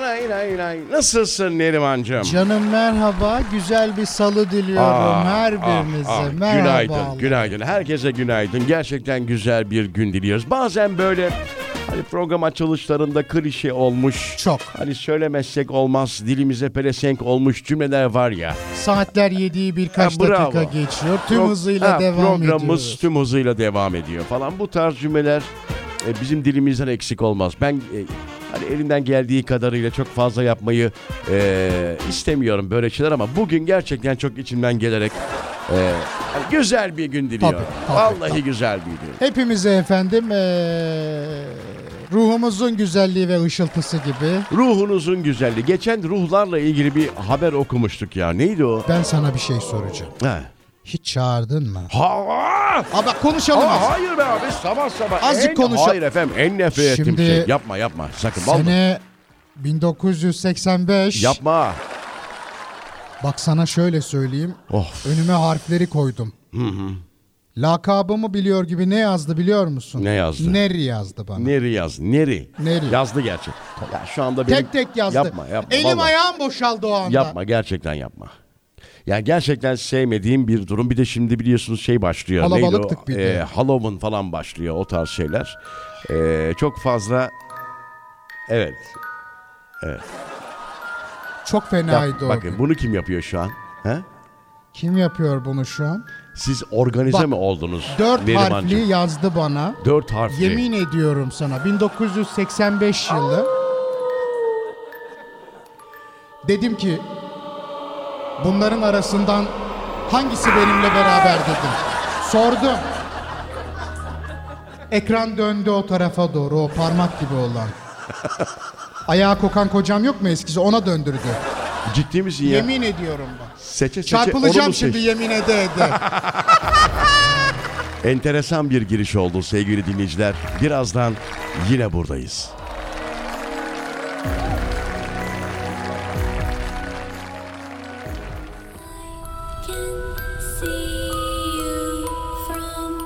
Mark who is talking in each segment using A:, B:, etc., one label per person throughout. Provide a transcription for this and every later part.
A: Nay, nay, nay. Nasılsın Nerimancığım?
B: Canım merhaba. Güzel bir salı diliyorum
A: Aa,
B: her
A: aa,
B: birinize.
A: aa.
B: merhaba.
A: Ah, Günaydın, günaydın. Herkese günaydın. Gerçekten güzel bir gün diliyoruz. Bazen böyle hani program açılışlarında klişe olmuş.
B: Çok.
A: Hani söylemezsek olmaz, dilimize pelesenk olmuş cümleler var ya.
B: Saatler yediği birkaç
A: Ha, bravo.
B: dakika geçiyor. Tüm
A: Pro-
B: hızıyla
A: ha,
B: devam
A: Programımız
B: ediyoruz.
A: tüm hızıyla devam ediyor falan. Bu tarz cümleler e, bizim dilimizden eksik olmaz. Ben e, hani elinden geldiği kadarıyla çok fazla yapmayı e, istemiyorum böyle şeyler ama bugün gerçekten çok içimden gelerek e, hani güzel bir gün diliyorum.
B: Tabii, tabii,
A: Vallahi
B: tabii.
A: güzel bir gün.
B: Hepimize efendim eee, ruhumuzun güzelliği ve ışıltısı gibi.
A: Ruhunuzun güzelliği. Geçen ruhlarla ilgili bir haber okumuştuk ya. Neydi o?
B: Ben sana bir şey soracağım.
A: Ha.
B: Hiç çağırdın mı?
A: Ha!
B: Aa bak konuşalım.
A: Aa,
B: biz.
A: hayır be abi sabah sabah.
B: Azıcık
A: en,
B: konuşalım.
A: Hayır efendim en nefret ettiğim
B: Şimdi-
A: şey. Yapma yapma sakın. vallahi.
B: Sene 1985.
A: Yapma.
B: Bak sana şöyle söyleyeyim.
A: Of.
B: Önüme harfleri koydum. Lakabımı biliyor gibi ne yazdı biliyor musun?
A: Ne yazdı?
B: Neri yazdı bana.
A: Neri yaz. Neri.
B: Neri.
A: Yazdı gerçek. Ya şu anda benim...
B: Tek tek yazdı.
A: Yapma yapma.
B: Elim
A: vallahi.
B: ayağım boşaldı o anda.
A: Yapma gerçekten yapma. Ya gerçekten sevmediğim bir durum. Bir de şimdi biliyorsunuz şey başlıyor. Neydi o?
B: Kalabalıktık bir de.
A: Ee, Halloween falan başlıyor o tarz şeyler. Ee, çok fazla... Evet.
B: Çok
A: Yap-
B: fenaydı o.
A: bakın
B: gün.
A: bunu kim yapıyor şu an? He?
B: Kim yapıyor bunu şu an?
A: Siz organize
B: Bak,
A: mi oldunuz?
B: Dört harfli
A: Nerimancığım?
B: yazdı bana.
A: Dört harfli.
B: Yemin ediyorum sana 1985 yılı. Dedim ki bunların arasından hangisi benimle beraber dedim. Sordum. Ekran döndü o tarafa doğru o parmak gibi olan. Ayağa kokan kocam yok mu eskisi ona döndürdü.
A: Ciddi misin ya?
B: Yemin ediyorum bak.
A: Seçe seçe onu
B: Çarpılacağım
A: mu
B: şimdi
A: seç-
B: yemin ede ede.
A: Enteresan bir giriş oldu sevgili dinleyiciler. Birazdan yine buradayız.
C: can see you from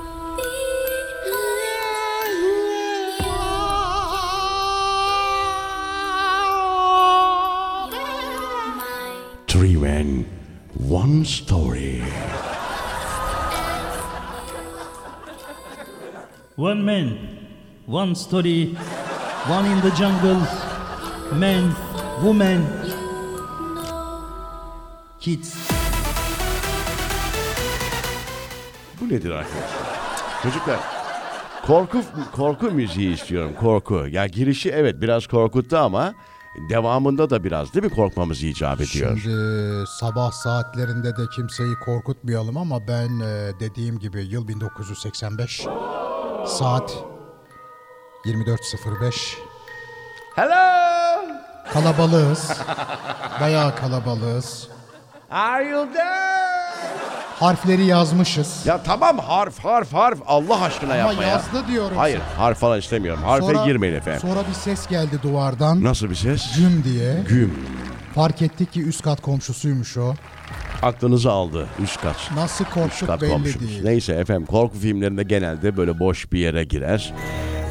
C: behind. You're my
A: Three men, one story.
D: One man, one story, one in the jungle, man, woman, kids.
A: Bu nedir arkadaşlar? Çocuklar korku korku müziği istiyorum korku. Ya girişi evet biraz korkuttu ama devamında da biraz değil mi korkmamız icap ediyor.
B: Şimdi Ee, sabah saatlerinde de kimseyi korkutmayalım ama ben e, dediğim gibi yıl 1985 saat 24.05
A: Hello.
B: kalabalığız. Bayağı kalabalığız.
A: Are you there?
B: Harfleri yazmışız.
A: Ya tamam harf harf harf Allah aşkına
B: Ama
A: yapma ya.
B: yazdı diyorum.
A: Hayır harf falan istemiyorum. Harfe
B: Sonra-
A: girmeyin efendim.
B: Sonra bir ses geldi duvardan.
A: Nasıl bir ses?
B: Güm diye.
A: Güm.
B: Fark ettik ki üst kat komşusuymuş o.
A: Aklınızı aldı. Üst kat.
B: Nasıl
A: Üst
B: korktuk
A: kat
B: belli
A: komşumuz.
B: değil.
A: Neyse efendim korku filmlerinde genelde böyle boş bir yere girer.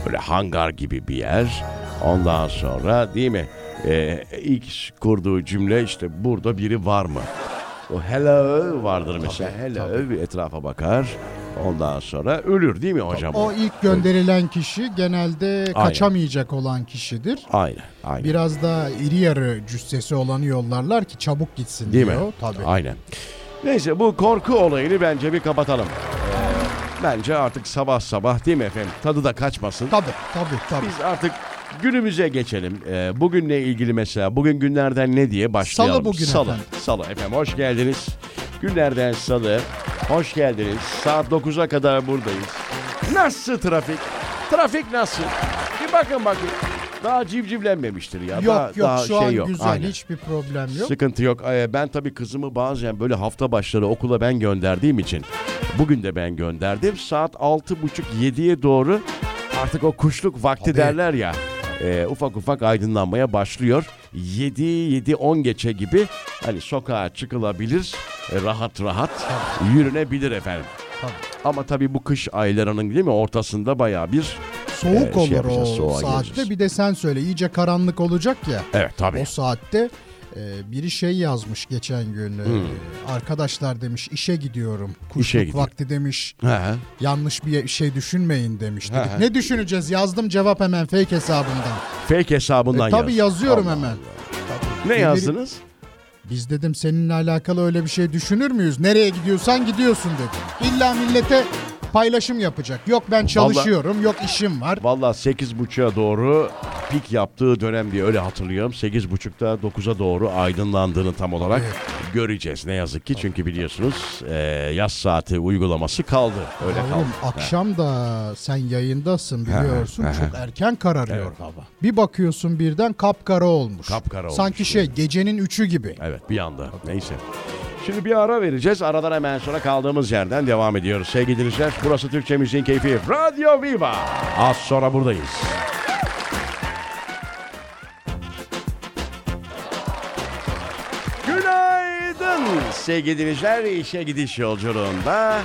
A: Böyle hangar gibi bir yer. Ondan sonra değil mi? Ee, ilk kurduğu cümle işte burada biri var mı? O hello vardır mesela. hello bir etrafa bakar. Ondan sonra ölür değil mi hocam?
B: O ilk gönderilen kişi genelde
A: Aynen.
B: kaçamayacak olan kişidir.
A: Aynen. Aynen.
B: Biraz da iri yarı cüssesi olanı yollarlar ki çabuk gitsin
A: Değil mi?
B: diyor. Tabii.
A: Aynen. Neyse bu korku olayını bence bir kapatalım. Bence artık sabah sabah değil mi efendim? Tadı da kaçmasın.
B: Tabii tabii tabii.
A: Biz artık günümüze geçelim. Ee, bugünle ilgili mesela bugün günlerden ne diye başlayalım.
B: Salı bugün
A: Salı.
B: efendim.
A: Salı efendim hoş geldiniz. Günlerden salı. Hoş geldiniz. Saat 9'a kadar buradayız. Nasıl trafik? Trafik nasıl? Bir bakın bakın. Daha civcivlenmemiştir ya.
B: yok
A: daha,
B: yok
A: daha
B: şu
A: şey
B: an
A: yok.
B: güzel
A: Aynen.
B: hiçbir problem yok.
A: Sıkıntı yok. Ee, Ben tabii kızımı bazen böyle hafta başları okula ben gönderdiğim için bugün de ben gönderdim. Saat 6.30-7'ye doğru artık o kuşluk vakti derler ya. e, ufak ufak aydınlanmaya başlıyor. 7 7 10 geçe gibi hani sokağa çıkılabilir. e, rahat rahat yürünebilir efendim.
B: Tabii.
A: Ama tabii bu kış aylarının değil mi ortasında bayağı bir e,
B: soğuk
A: şey
B: olur
A: yapacağız,
B: o
A: soğuğa
B: saatte.
A: gireceğiz.
B: Bir de sen söyle iyice karanlık olacak ya.
A: Evet tabii.
B: O saatte e, biri şey yazmış geçen gün. e, Arkadaşlar demiş işe gidiyorum. Kuşluk
A: Hmm. İşe gidiyor.
B: vakti demiş.
A: He.
B: Yanlış bir şey düşünmeyin demiş. Dedik,
A: Ha.
B: Ne düşüneceğiz? Yazdım cevap hemen fake hesabından.
A: Fake
B: E,
A: hesabından
B: tabii
A: yaz.
B: yazıyorum
A: Allah.
B: hemen.
A: Ne
B: Demir-
A: yazdınız?
B: Biz dedim seninle alakalı öyle bir şey düşünür müyüz? Nereye gidiyorsan gidiyorsun dedim. İlla millete paylaşım yapacak. Yok ben çalışıyorum, yok işim var.
A: Valla 8.30'a doğru pik yaptığı dönem diye öyle hatırlıyorum. 8.30'da 9'a doğru aydınlandığını tam olarak göreceğiz. Ne yazık ki çünkü biliyorsunuz e, yaz saati uygulaması kaldı. Öyle kaldı.
B: Yavrum akşam da sen yayındasın biliyorsun. Çok erken kararıyor hava. Bir bakıyorsun birden kapkara olmuş.
A: Kapkara olmuş,
B: Sanki şey gecenin üçü gibi.
A: Evet bir anda. Neyse. Şimdi bir ara vereceğiz. Aradan hemen sonra kaldığımız yerden devam ediyoruz. Sevgili dinleyiciler burası Türkçe Müziğin Keyfi. Radyo Viva. Az sonra buradayız. Günaydın sevgili dinleyiciler. İşe gidiş yolculuğunda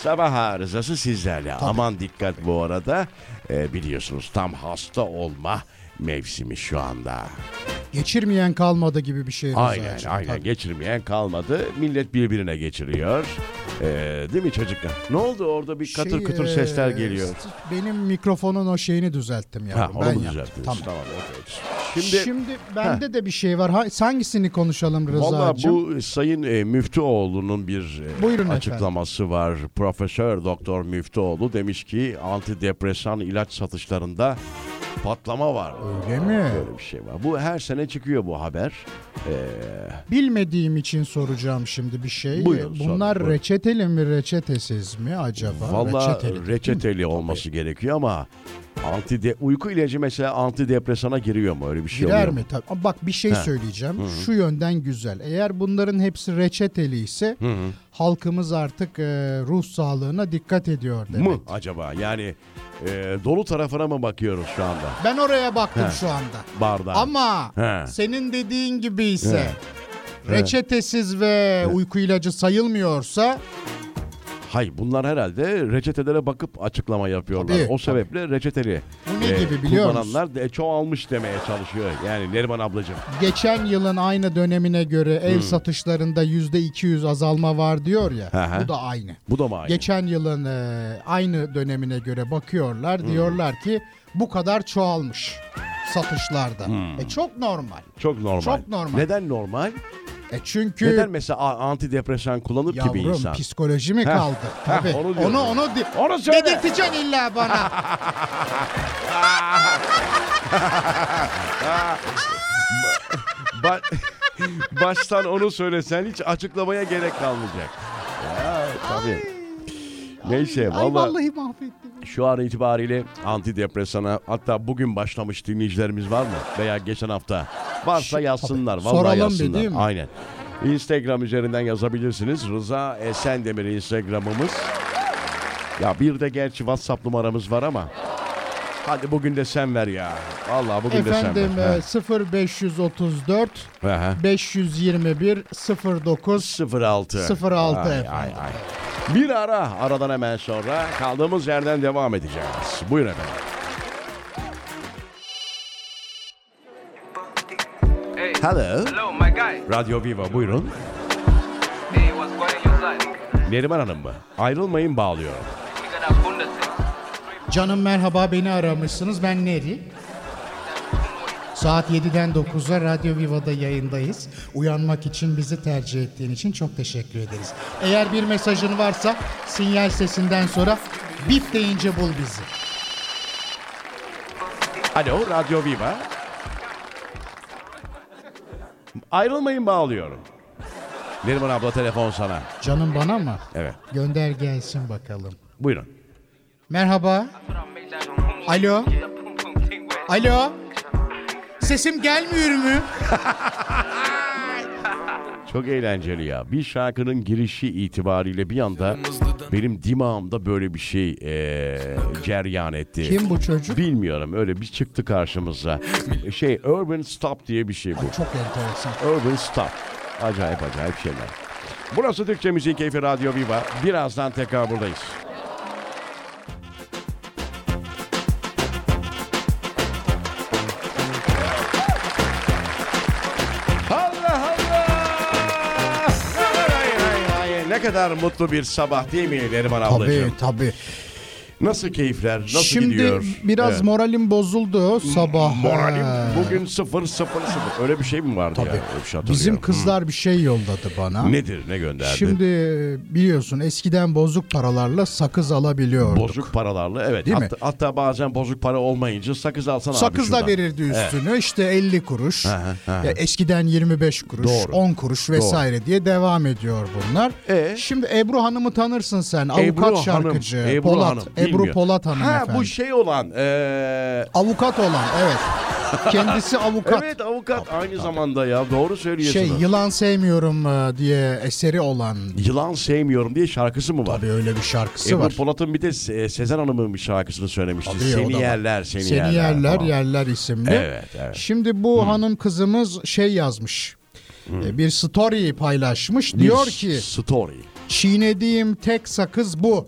A: sabah arızası sizlerle. Aman dikkat bu arada. Ee, biliyorsunuz tam hasta olma mevsimi şu anda.
B: Geçirmeyen kalmadı gibi bir şey.
A: Aynen
B: Rıza'cığım.
A: aynen
B: Tabii.
A: geçirmeyen kalmadı. Millet birbirine geçiriyor. Ee, değil mi çocuklar? Ne oldu orada bir katır
B: Şey,
A: kıtır
B: e,
A: sesler geliyor.
B: Benim mikrofonun o şeyini düzelttim ya.
A: Ha, onu
B: ben
A: mu
B: yaptım.
A: düzelttiniz?
B: Tamam.
A: Tamam, okey.
B: Şimdi,
A: Şimdi,
B: bende de bir şey var. Ha- Hangisini konuşalım
A: valla
B: Rıza'cığım?
A: bu Sayın e, Müftüoğlu'nun bir e,
B: Buyurun
A: açıklaması var. Profesör Doktor Müftüoğlu demiş ki antidepresan ilaç satışlarında patlama var.
B: Öyle mi?
A: Böyle bir şey var. Bu her sene çıkıyor bu haber. Ee,
B: Bilmediğim için soracağım şimdi bir şey.
A: Buyurun,
B: Bunlar
A: sorun, buyurun.
B: reçeteli mi reçetesiz mi acaba?
A: Valla
B: Reçeteli
A: reçeteli,
B: değil mi?
A: olması gerekiyor ama antide uyku ilacı mesela antidepresana giriyor mu öyle bir şey
B: Girer
A: oluyor
B: mi?
A: mu?
B: Tabii. Ama Bak bir şey söyleyeceğim. Şu yönden güzel. Eğer bunların hepsi reçeteli ise halkımız artık e, ruh sağlığına dikkat ediyor demek.
A: Mu acaba? Yani e, dolu tarafına mı bakıyoruz şu anda?
B: Ben oraya baktım
A: He.
B: şu anda.
A: Bardağı.
B: Ama
A: He.
B: senin dediğin gibi ise reçetesiz ve uyku ilacı sayılmıyorsa
A: Hay bunlar herhalde reçetelere bakıp açıklama yapıyorlar.
B: Tabii,
A: o sebeple reçeteli e,
B: Bu ne gibi biliyor musun?
A: kullananlar de, çoğalmış demeye çalışıyor. Yani Neriman ablacığım.
B: geçen yılın aynı dönemine göre ev
A: Hmm.
B: satışlarında %200 azalma var diyor ya.
A: Hı hı.
B: Bu da aynı.
A: Bu da mı aynı?
B: Geçen yılın e, aynı dönemine göre bakıyorlar.
A: Hmm.
B: Diyorlar ki bu kadar çoğalmış satışlarda.
A: Hmm.
B: E çok normal.
A: Çok normal.
B: Çok normal.
A: Neden normal?
B: E çünkü
A: Neden mesela a- antidepresan kullanır ki bir
B: yavrum
A: insan?
B: psikoloji mi kaldı? Tabii.
A: onu diyorum.
B: onu onu di-
A: Onu söyle.
B: dedirteceksin illa bana.
A: Ba- baştan onu söylesen hiç açıklamaya gerek kalmayacak. Ya, tabii. Neyse
B: Ay
A: valla
B: vallahi mahvettim.
A: şu an itibariyle antidepresana hatta bugün başlamış dinleyicilerimiz var mı? Veya geçen hafta varsa yazsınlar. Vallahi
B: Soralım bir,
A: yazsınlar.
B: değil mi?
A: Aynen. Instagram üzerinden yazabilirsiniz. Rıza Esendemir Instagram'ımız. Ya bir de gerçi WhatsApp numaramız var ama. Hadi bugün de sen ver ya. Vallahi bugün de
B: Efendim
A: sen ver.
B: e, 0534
A: He. Aha.
B: 521 09
A: 06.
B: 06
A: Ay,
B: efendim.
A: ay, ay. Bir ara. Aradan hemen sonra kaldığımız yerden devam edeceğiz. Buyurun efendim.
E: Hey,
A: Hello.
E: hello, my guy.
A: Radyo Viva buyurun.
E: Hey, what's going on your side?
A: Neriman Hanım mı? Ayrılmayın bağlıyor.
E: We got a Bundesliga.
B: Canım merhaba beni aramışsınız ben Neri. Saat 7'den 9'a Radyo Viva'da yayındayız. Uyanmak için bizi tercih ettiğin için çok teşekkür ederiz. Eğer bir mesajın varsa sinyal sesinden sonra bip deyince bul bizi.
A: Alo Radyo Viva. Ayrılmayın bağlıyorum. Neriman abla telefon sana.
B: Canım bana mı?
A: Evet.
B: Gönder gelsin bakalım.
A: Buyurun.
B: Merhaba. Alo. Alo. Sesim gelmiyor mu?
A: Çok eğlenceli ya. Bir şarkının girişi itibariyle bir anda benim dimağımda böyle bir şey eee ceryan etti.
B: Kim bu çocuk?
A: Bilmiyorum öyle bir çıktı karşımıza. Şey Urban Stop diye bir şey bu.
B: Çok enteresan.
A: Urban Stop. Acayip acayip şeyler. Burası Türkçe Müziğin Keyfi Radyo Viva. Birazdan tekrar buradayız. kadar mutlu bir sabah değil mi Neriman ablacığım?
B: Tabii tabii.
A: Nasıl keyifler? Nasıl
B: Şimdi
A: gidiyor?
B: biraz
A: Evet.
B: moralim bozuldu sabah.
A: Moralim
B: Ha.
A: bugün sıfır sıfır sıfır. Öyle bir şey mi vardı ya?
B: Tabii.
A: Öyle bir şey
B: Bizim
A: hatırlıyorum.
B: kızlar bir şey yolladı bana.
A: Nedir? Ne gönderdi?
B: Şimdi biliyorsun eskiden bozuk paralarla sakız alabiliyorduk.
A: Bozuk paralarla evet.
B: Değil mi?
A: hatta, hatta bazen bozuk para olmayınca sakız alsana abi
B: Sakızla
A: şuradan.
B: verirdi üstünü işte 50 kuruş.
A: Aha, aha.
B: Ya eskiden 25 kuruş,
A: Doğru.
B: 10 kuruş vesaire diye devam ediyor bunlar.
A: E?
B: Şimdi Ebru Hanım'ı tanırsın sen.
A: Ebru
B: avukat
A: Hanım,
B: şarkıcı.
A: Ebru
B: Polat,
A: Hanım,
B: Ebru
A: bilmiyor.
B: Polat Hanım
A: Ha
B: efendim.
A: bu şey olan. eee
B: Avukat olan evet. Kendisi avukat.
A: Evet avukat aynı zamanda ya doğru söylüyorsun.
B: şey yılan sevmiyorum e, diye eseri olan
A: Yılan sevmiyorum diye şarkısı mı var?
B: tabii öyle bir şarkısı
A: Ebru
B: var.
A: Polat'ın bir de Se- e, Sezen Hanım'ın bir şarkısını söylemişti.
B: Tabii, o da
A: seni
B: var.
A: yerler, seni,
B: Seni yerler yerler,
A: falan.
B: isimli.
A: Evet, evet. Hmm.
B: Şimdi bu hanım kızımız şey yazmış. e, Bir story paylaşmış.
A: Bir
B: Diyor ki
A: Story.
B: çiğnediğim tek sakız bu.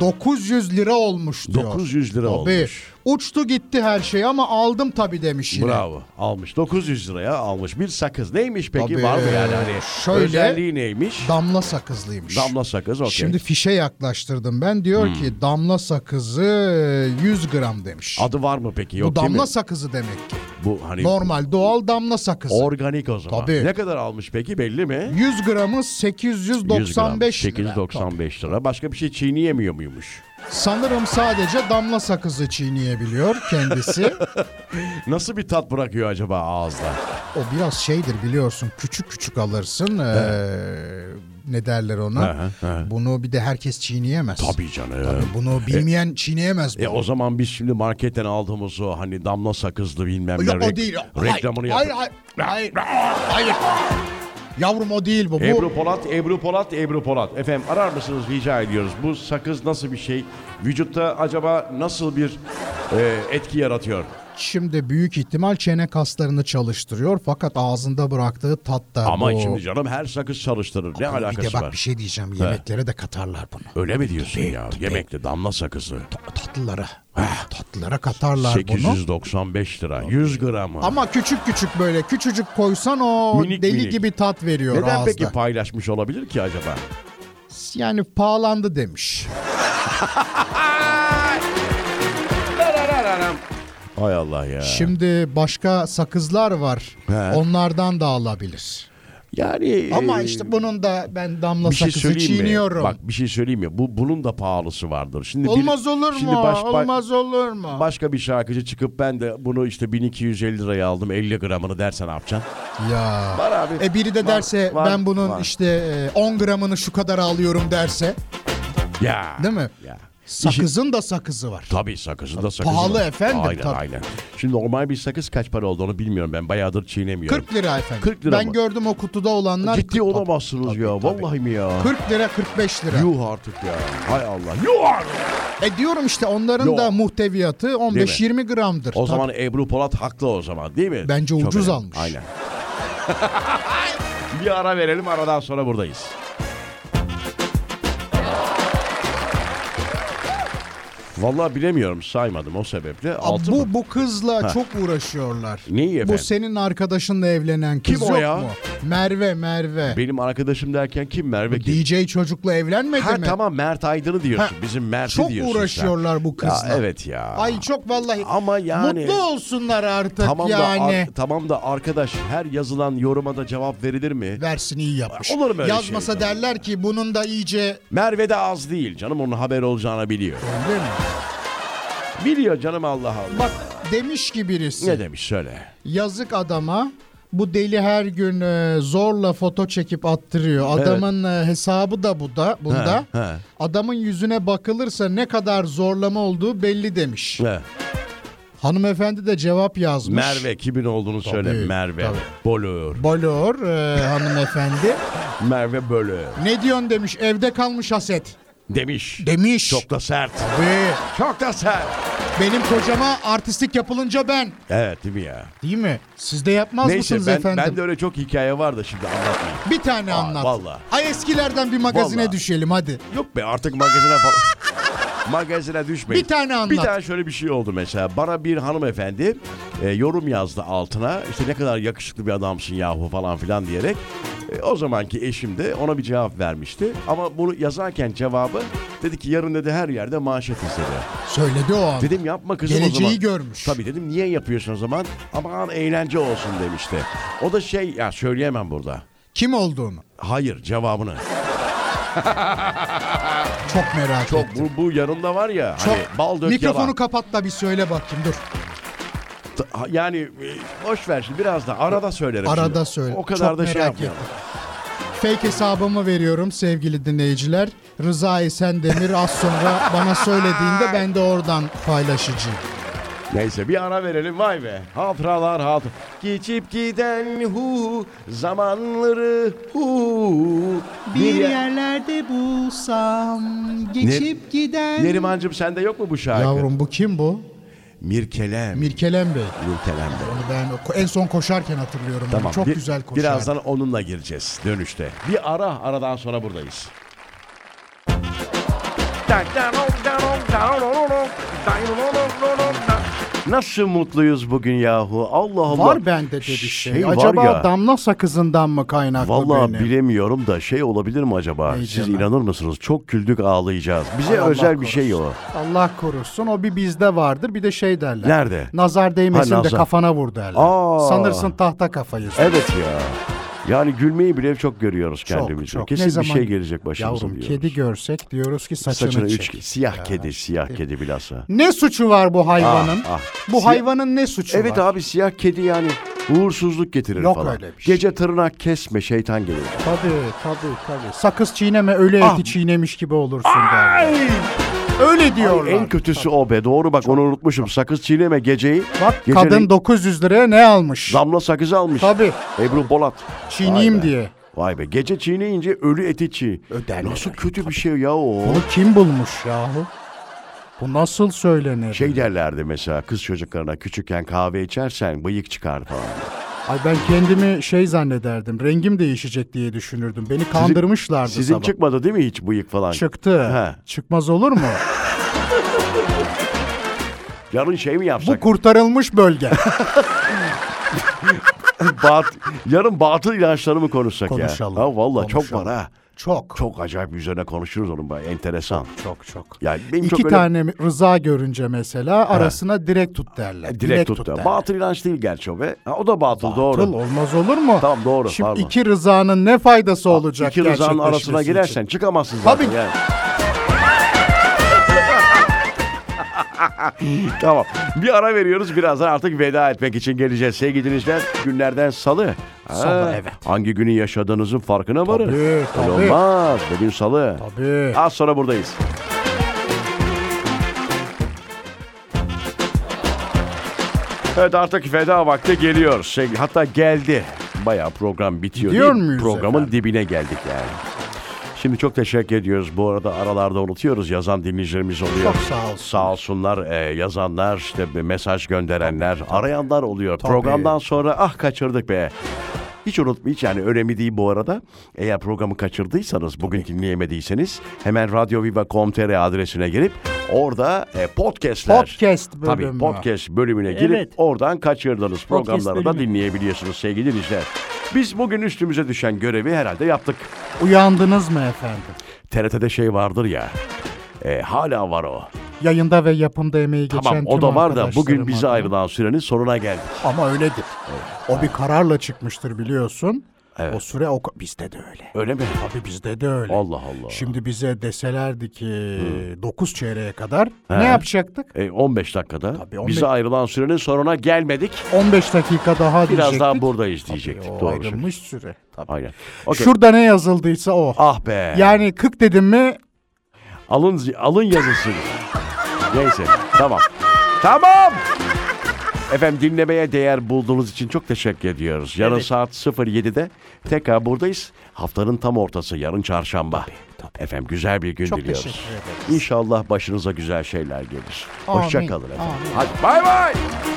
B: 900 lira olmuş diyor.
A: 900 Hmm. lira
B: Tabii.
A: olmuş.
B: Uçtu gitti her şey ama aldım tabii demiş yine.
A: Bravo. Almış. 900 liraya almış. Bir sakız. Neymiş peki?
B: Tabii,
A: Var mı yani? Hani
B: şöyle-
A: özelliği neymiş?
B: Damla sakızlıymış.
A: Damla sakız. Okey. Hmm.
B: Şimdi fişe yaklaştırdım ben. Diyor ki damla sakızı 100 gram demiş.
A: Adı var mı peki? Yok
B: bu damla
A: değil mi?
B: sakızı demek ki.
A: Bu hani
B: Normal doğal damla sakızı.
A: organik o zaman.
B: Tabii.
A: Ne kadar almış peki belli mi?
B: 100
A: 100
B: gramı
A: gram,
B: 895 lira.
A: 895 lira. Başka bir şey çiğneyemiyor muymuş?
B: Sanırım sadece damla sakızı çiğneyebiliyor kendisi.
A: Nasıl bir tat bırakıyor acaba ağızda?
B: o biraz şeydir biliyorsun küçük küçük alırsın. eee, ne derler ona?
A: Hı hı,
B: Bunu bir de herkes çiğneyemez.
A: Tabii canım.
B: Bunu bilmeyen çiğneyemez.
A: E
B: bunu.
A: o zaman biz şimdi marketten aldığımız o hani damla sakızlı bilmem ne
B: Ya
A: rek-
B: o değil.
A: reklamını
B: hayır,
A: yap-
B: hayır, hayır, hayır, hayır. Yavrum o değil bu. Bu
A: Ebru Polat, Ebru Polat, Ebru Polat. Efendim arar mısınız rica ediyoruz. Bu sakız nasıl bir şey? Vücutta acaba nasıl bir e, etki yaratıyor?
B: şimdi büyük ihtimal çene kaslarını çalıştırıyor fakat ağzında bıraktığı tat da
A: Ama
B: bu.
A: şimdi canım her sakız çalıştırır. Ne
B: bir de
A: alakası
B: bak
A: var?
B: bir şey diyeceğim. Yemeklere de katarlar bunu.
A: Öyle mi diyorsun ya? Yemekli damla sakızı.
B: Ta- Tatlılara. Tatlılara katarlar bunu.
A: 895 lira. 100 gramı.
B: Ama küçük küçük böyle küçücük koysan o
A: Minik
B: deli
A: minik.
B: gibi tat veriyor
A: Neden
B: ağızda.
A: peki paylaşmış olabilir ki acaba?
B: Yani pahalandı demiş.
A: Hay Allah ya.
B: Şimdi başka sakızlar var.
A: He.
B: Onlardan da alabilir.
A: yani
B: Ama
A: e,
B: işte bunun da ben damla
A: bir şey
B: sakızı
A: söyleyeyim
B: çiğniyorum.
A: mi? Bak bir şey söyleyeyim mi? Bu bunun da pahalısı vardır. Şimdi bir-
B: Olmaz olur mu?
A: şimdi baş- ba-
B: Olmaz olur mu?
A: Başka bir şarkıcı çıkıp ben de bunu işte 1250 liraya aldım 50 gramını dersen ne yapacaksın?
B: ya.
A: Var abi.
B: E biri de
A: Var,
B: derse
A: var,
B: ben bunun
A: var.
B: işte e, 10 gramını şu kadar alıyorum derse,
A: Ya.
B: değil mi?
A: Ya.
B: Sakızın da sakızı var.
A: Tabii sakızı da sakızı.
B: Pahalı
A: var.
B: efendim,
A: Aynen
B: tabii.
A: aynen. Şimdi normal bir sakız kaç para oldu onu bilmiyorum ben bayağıdır çiğnemiyorum.
B: 40 lira efendim.
A: 40 lira
B: ben
A: mı?
B: gördüm o kutuda olanlar.
A: Ciddi olamazsınız
B: Tabii,
A: ya
B: tabii.
A: vallahi mi ya?
B: 40 lira 45 lira.
A: Yuh artık ya. Hay Allah. Yuh artık.
B: E diyorum işte onların
A: Yok.
B: da muhteviyatı 15-20 gramdır.
A: O
B: Tabii.
A: zaman Ebru Polat haklı o zaman değil mi?
B: Bence
A: Çok
B: ucuz
A: önemli.
B: almış.
A: Aynen. bir ara verelim aradan sonra buradayız. Vallahi bilemiyorum saymadım o sebeple.
B: Aa,
A: Altı mı?
B: bu bu kızla
A: Ha.
B: çok uğraşıyorlar.
A: Neyi
B: Bu
A: efendim?
B: senin arkadaşınla evlenen kız
A: Kim o
B: yok
A: ya?
B: mu? Merve Merve.
A: Benim arkadaşım derken kim Merve kim?
B: DJ çocukla evlenmedi
A: Ha
B: mi?
A: tamam Mert Aydın'ı diyorsun.
B: Ha,
A: Bizim Mert'i
B: Çok
A: diyorsun sen.
B: uğraşıyorlar bu
A: Ya
B: kızla.
A: evet ya.
B: Ay çok vallahi.
A: Ama yani-
B: Mutlu olsunlar artık
A: tamam da
B: yani.
A: ar- tamam da arkadaş her yazılan yoruma da cevap verilir mi?
B: Versin iyi yapmış.
A: Olur mu öyle
B: Yazmasa
A: şey?
B: derler ki bunun da iyice
A: Merve de az değil canım onun haber olacağını biliyor.
B: Öyle mi?
A: Biliyor canım Allah Allah.
B: Bak demiş ki birisi.
A: Ne demiş söyle.
B: Yazık adama. Bu deli her gün e, zorla foto çekip attırıyor.
A: Evet.
B: Adamın e, hesabı da bu da bunda.
A: He, he.
B: Adamın yüzüne bakılırsa ne kadar zorlama olduğu belli demiş.
A: Ne?
B: Hanımefendi de cevap yazmış.
A: Merve kimin olduğunu söyle. Merve
B: tabii.
A: Bölür.
B: Balor e, hanımefendi.
A: Merve Bölür.
B: Ne diyorsun demiş evde kalmış haset.
A: Demiş.
B: Demiş.
A: Çok da sert.
B: Ve
A: Çok da sert.
B: benim kocama artistlik yapılınca ben.
A: Evet değil mi ya?
B: Değil mi? Siz de yapmaz
A: Neyse
B: mısınız
A: ben,
B: efendim?
A: ben de öyle çok hikaye var da şimdi anlatmayayım.
B: Bir tane
A: Aa,
B: anlat.
A: vallahi.
B: Ay eskilerden bir magazine
A: Vallahi.
B: düşelim hadi.
A: Yok be artık magazine falan. magazine düşmeyin.
B: Bir tane anlat.
A: Bir tane şöyle bir şey oldu mesela. Bana bir hanımefendi e, yorum yazdı altına. İşte ne kadar yakışıklı bir adamsın yahu falan filan diyerek. E, o zamanki eşim de ona bir cevap vermişti. Ama bunu yazarken cevabı dedi ki yarın dedi her yerde manşet istedi.
B: Söyledi o an.
A: Dedim yapma kızım o
B: Geleceği
A: zaman.
B: görmüş.
A: Tabii dedim niye yapıyorsun o zaman? Aman eğlence olsun demişti. O da şey ya söyleyemem burada.
B: Kim olduğunu.
A: Hayır cevabını.
B: Çok merak
A: Çok
B: ettim.
A: bu, bu yanında var ya hani bal dök
B: Mikrofonu
A: yalan.
B: kapat da bir söyle bakayım dur.
A: Ta- ha- Yani e, boş ver şimdi biraz da arada söylerim.
B: Arada
A: şimdi.
B: söyle.
A: O kadar
B: Çok
A: da şey
B: merak
A: yapmayalım.
B: Fake hesabımı veriyorum sevgili dinleyiciler. Rıza Esen Demir az sonra bana söylediğinde ben de oradan paylaşacağım.
A: Neyse bir ara verelim vay be. Hatıralar hatır. Geçip giden hu zamanları hu.
D: Bir
A: yer-
D: yerlerde bulsam geçip giden
A: Nerimancığım sende yok mu bu şarkı?
B: Yavrum bu kim bu?
A: Mirkelem.
B: Mirkelem Bey.
A: Mirkelem de.
B: Onu ben o- en son koşarken hatırlıyorum. onu.
A: Tamam.
B: Çok
A: bir-
B: güzel koşar.
A: Birazdan onunla gireceğiz dönüşte. Bir ara aradan sonra buradayız. Nasıl mutluyuz bugün yahu? Allah Allah.
B: Var bende de bir şey.
A: var
B: Acaba
A: ya.
B: damla sakızından mı kaynaklı
A: Vallahi
B: benim?
A: bilemiyorum da şey olabilir mi acaba?
B: Ney
A: Siz
B: canım?
A: inanır mısınız? Çok güldük ağlayacağız. Bize
B: Ay Allah
A: özel bir şey o.
B: korusun. Allah korusun. O bir bizde vardır. Bir de şey derler.
A: Nerede?
B: Nazar değmesin
A: Ha,
B: de
A: nazar.
B: kafana vur derler.
A: Aa.
B: Sanırsın tahta kafayı.
A: Evet ya. Yani gülmeyi bile çok görüyoruz kendimizi. Kesin
B: Ne
A: bir
B: zaman-
A: şey gelecek başımıza
B: Yavrum
A: diyoruz.
B: kedi görsek diyoruz ki saçını,
A: Saçına
B: çek.
A: üç siyah kedi, siyah kedi bilhassa.
B: Ne suçu var bu hayvanın?
A: Ah, ah.
B: Bu
A: Siya-
B: hayvanın ne suçu
A: Evet ah.
B: var?
A: abi siyah kedi yani uğursuzluk getirir
B: Yok
A: falan.
B: öyle bir şey.
A: Gece tırnak kesme şeytan gelir.
B: Tabii tabii tabii. Sakız çiğneme ölü
A: Ah.
B: eti çiğnemiş gibi olursun derler. Öyle diyorlar.
A: En kötüsü o be doğru bak onu unutmuşum. Sakız çiğneme geceyi.
B: Bak
A: geceleyin
B: kadın 900 liraya ne almış?
A: damla sakız almış.
B: Tabii.
A: Ebru Bolat.
B: Çiğneyim
A: Vay be.
B: diye.
A: Vay be gece çiğneyince ölü eti çiğ. Nasıl kötü bir şey ya o.
B: Bunu kim bulmuş yahu? Bu nasıl söylenir?
A: Şey derlerdi mesela kız çocuklarına küçükken kahve içersen bıyık çıkar falan.
B: Ay ben kendimi şey zannederdim. Rengim değişecek diye düşünürdüm. Beni kandırmışlardı
A: Sizin
B: sabah.
A: çıkmadı değil mi hiç bıyık falan?
B: Çıktı.
A: He.
B: Çıkmaz olur mu?
A: Yarın şey mi
B: Bu
A: yapsak?
B: kurtarılmış bölge.
A: Bat- yarın batıl ilaçları mı konuşsak
B: Konuşalım,
A: ya? Ha vallahi çok
B: konuşalım.
A: var ha.
B: çok.
A: Çok acayip üzerine konuşuruz onun bayağı enteresan.
B: Çok çok.
A: Yani benim
B: İki
A: çok öyle-
B: tane rıza görünce mesela arasına direkt tut derler.
A: E, Direkt, tuttu. batıl ilaç değil gerçi o be. Ha, o da batıl, doğru.
B: Atıl olmaz olur mu?
A: Tamam, doğru,
B: Şimdi
A: pardon.
B: iki rızanın ne faydası olacak?
A: İki rızanın
B: gerçekleşmesi
A: arasına
B: için?
A: girersen çıkamazsın zaten.
B: Tabii.
A: yani. tamam. Bir ara veriyoruz. Birazdan artık veda etmek için geleceğiz. Sevgili dinleyiciler günlerden salı. Ha,
B: Salı, evet.
A: Hangi günü yaşadığınızın farkına varın.
B: Tabii,
A: Öyle
B: tabii.
A: olmaz. Bugün salı.
B: Tabii.
A: Az sonra buradayız. Evet artık veda vakti geliyor. Şey, hatta geldi. Bayağı program bitiyor.
B: Gidiyor
A: değil mi?
B: muyuz
A: Programın
B: efendim?
A: dibine geldik yani. Şimdi çok teşekkür ediyoruz. Bu arada aralarda unutuyoruz yazan dinleyicilerimiz oluyor.
B: Çok sağ olsun.
A: Sağ olsunlar e, yazanlar, işte bir mesaj gönderenler, arayanlar oluyor. Programdan sonra ah kaçırdık be. Hiç unutma hiç yani önemli değil bu arada. Eğer programı kaçırdıysanız, bugün dinleyemediyseniz hemen radioviva.com.tr adresine girip orada e, podcastler.
B: Podcast bölümü.
A: Tabii podcast bölümüne girip
D: Evet.
A: oradan kaçırdığınız programları da
D: bölümü.
A: dinleyebiliyorsunuz sevgili dinleyiciler. Biz bugün üstümüze düşen görevi herhalde yaptık.
B: Uyandınız mı efendim?
A: TRT'de şey vardır ya. e, hala var o.
B: Yayında ve yapımda emeği geçen
A: Tamam o
B: tüm
A: da var da
B: arkadaşlarım
A: bugün bize
B: adına.
A: ayrılan sürenin sonuna geldik.
B: Ama öyledir. O bir kararla çıkmıştır biliyorsun. O süre o... Bizde de öyle.
A: Öyle mi?
B: Tabii bizde de öyle.
A: Allah Allah.
B: Şimdi bize deselerdi ki 9 çeyreğe kadar ne yapacaktık?
A: E, 15 dakikada
B: Tabii, 15
A: bize ayrılan sürenin sonuna gelmedik.
B: 15 dakika daha
A: Biraz
B: diyecektik.
A: daha buradayız diyecektik.
B: O
A: Doğru.
B: ayrılmış süre.
A: Aynen. Okey.
B: Şurada ne yazıldıysa o.
A: Ah be.
B: Yani 40 dedim mi
A: Alın alın yazısı. Neyse tamam. Tamam. Efendim dinlemeye değer bulduğunuz için çok teşekkür ediyoruz. Yarın saat 07'de tekrar buradayız. Haftanın tam ortası yarın çarşamba. Efendim güzel bir gün
B: Çok
A: diliyoruz.
B: teşekkür ederiz.
A: İnşallah başınıza güzel şeyler gelir.
B: Amin,
A: Hoşça kalın efendim.
B: amin.
A: Hadi bay bay.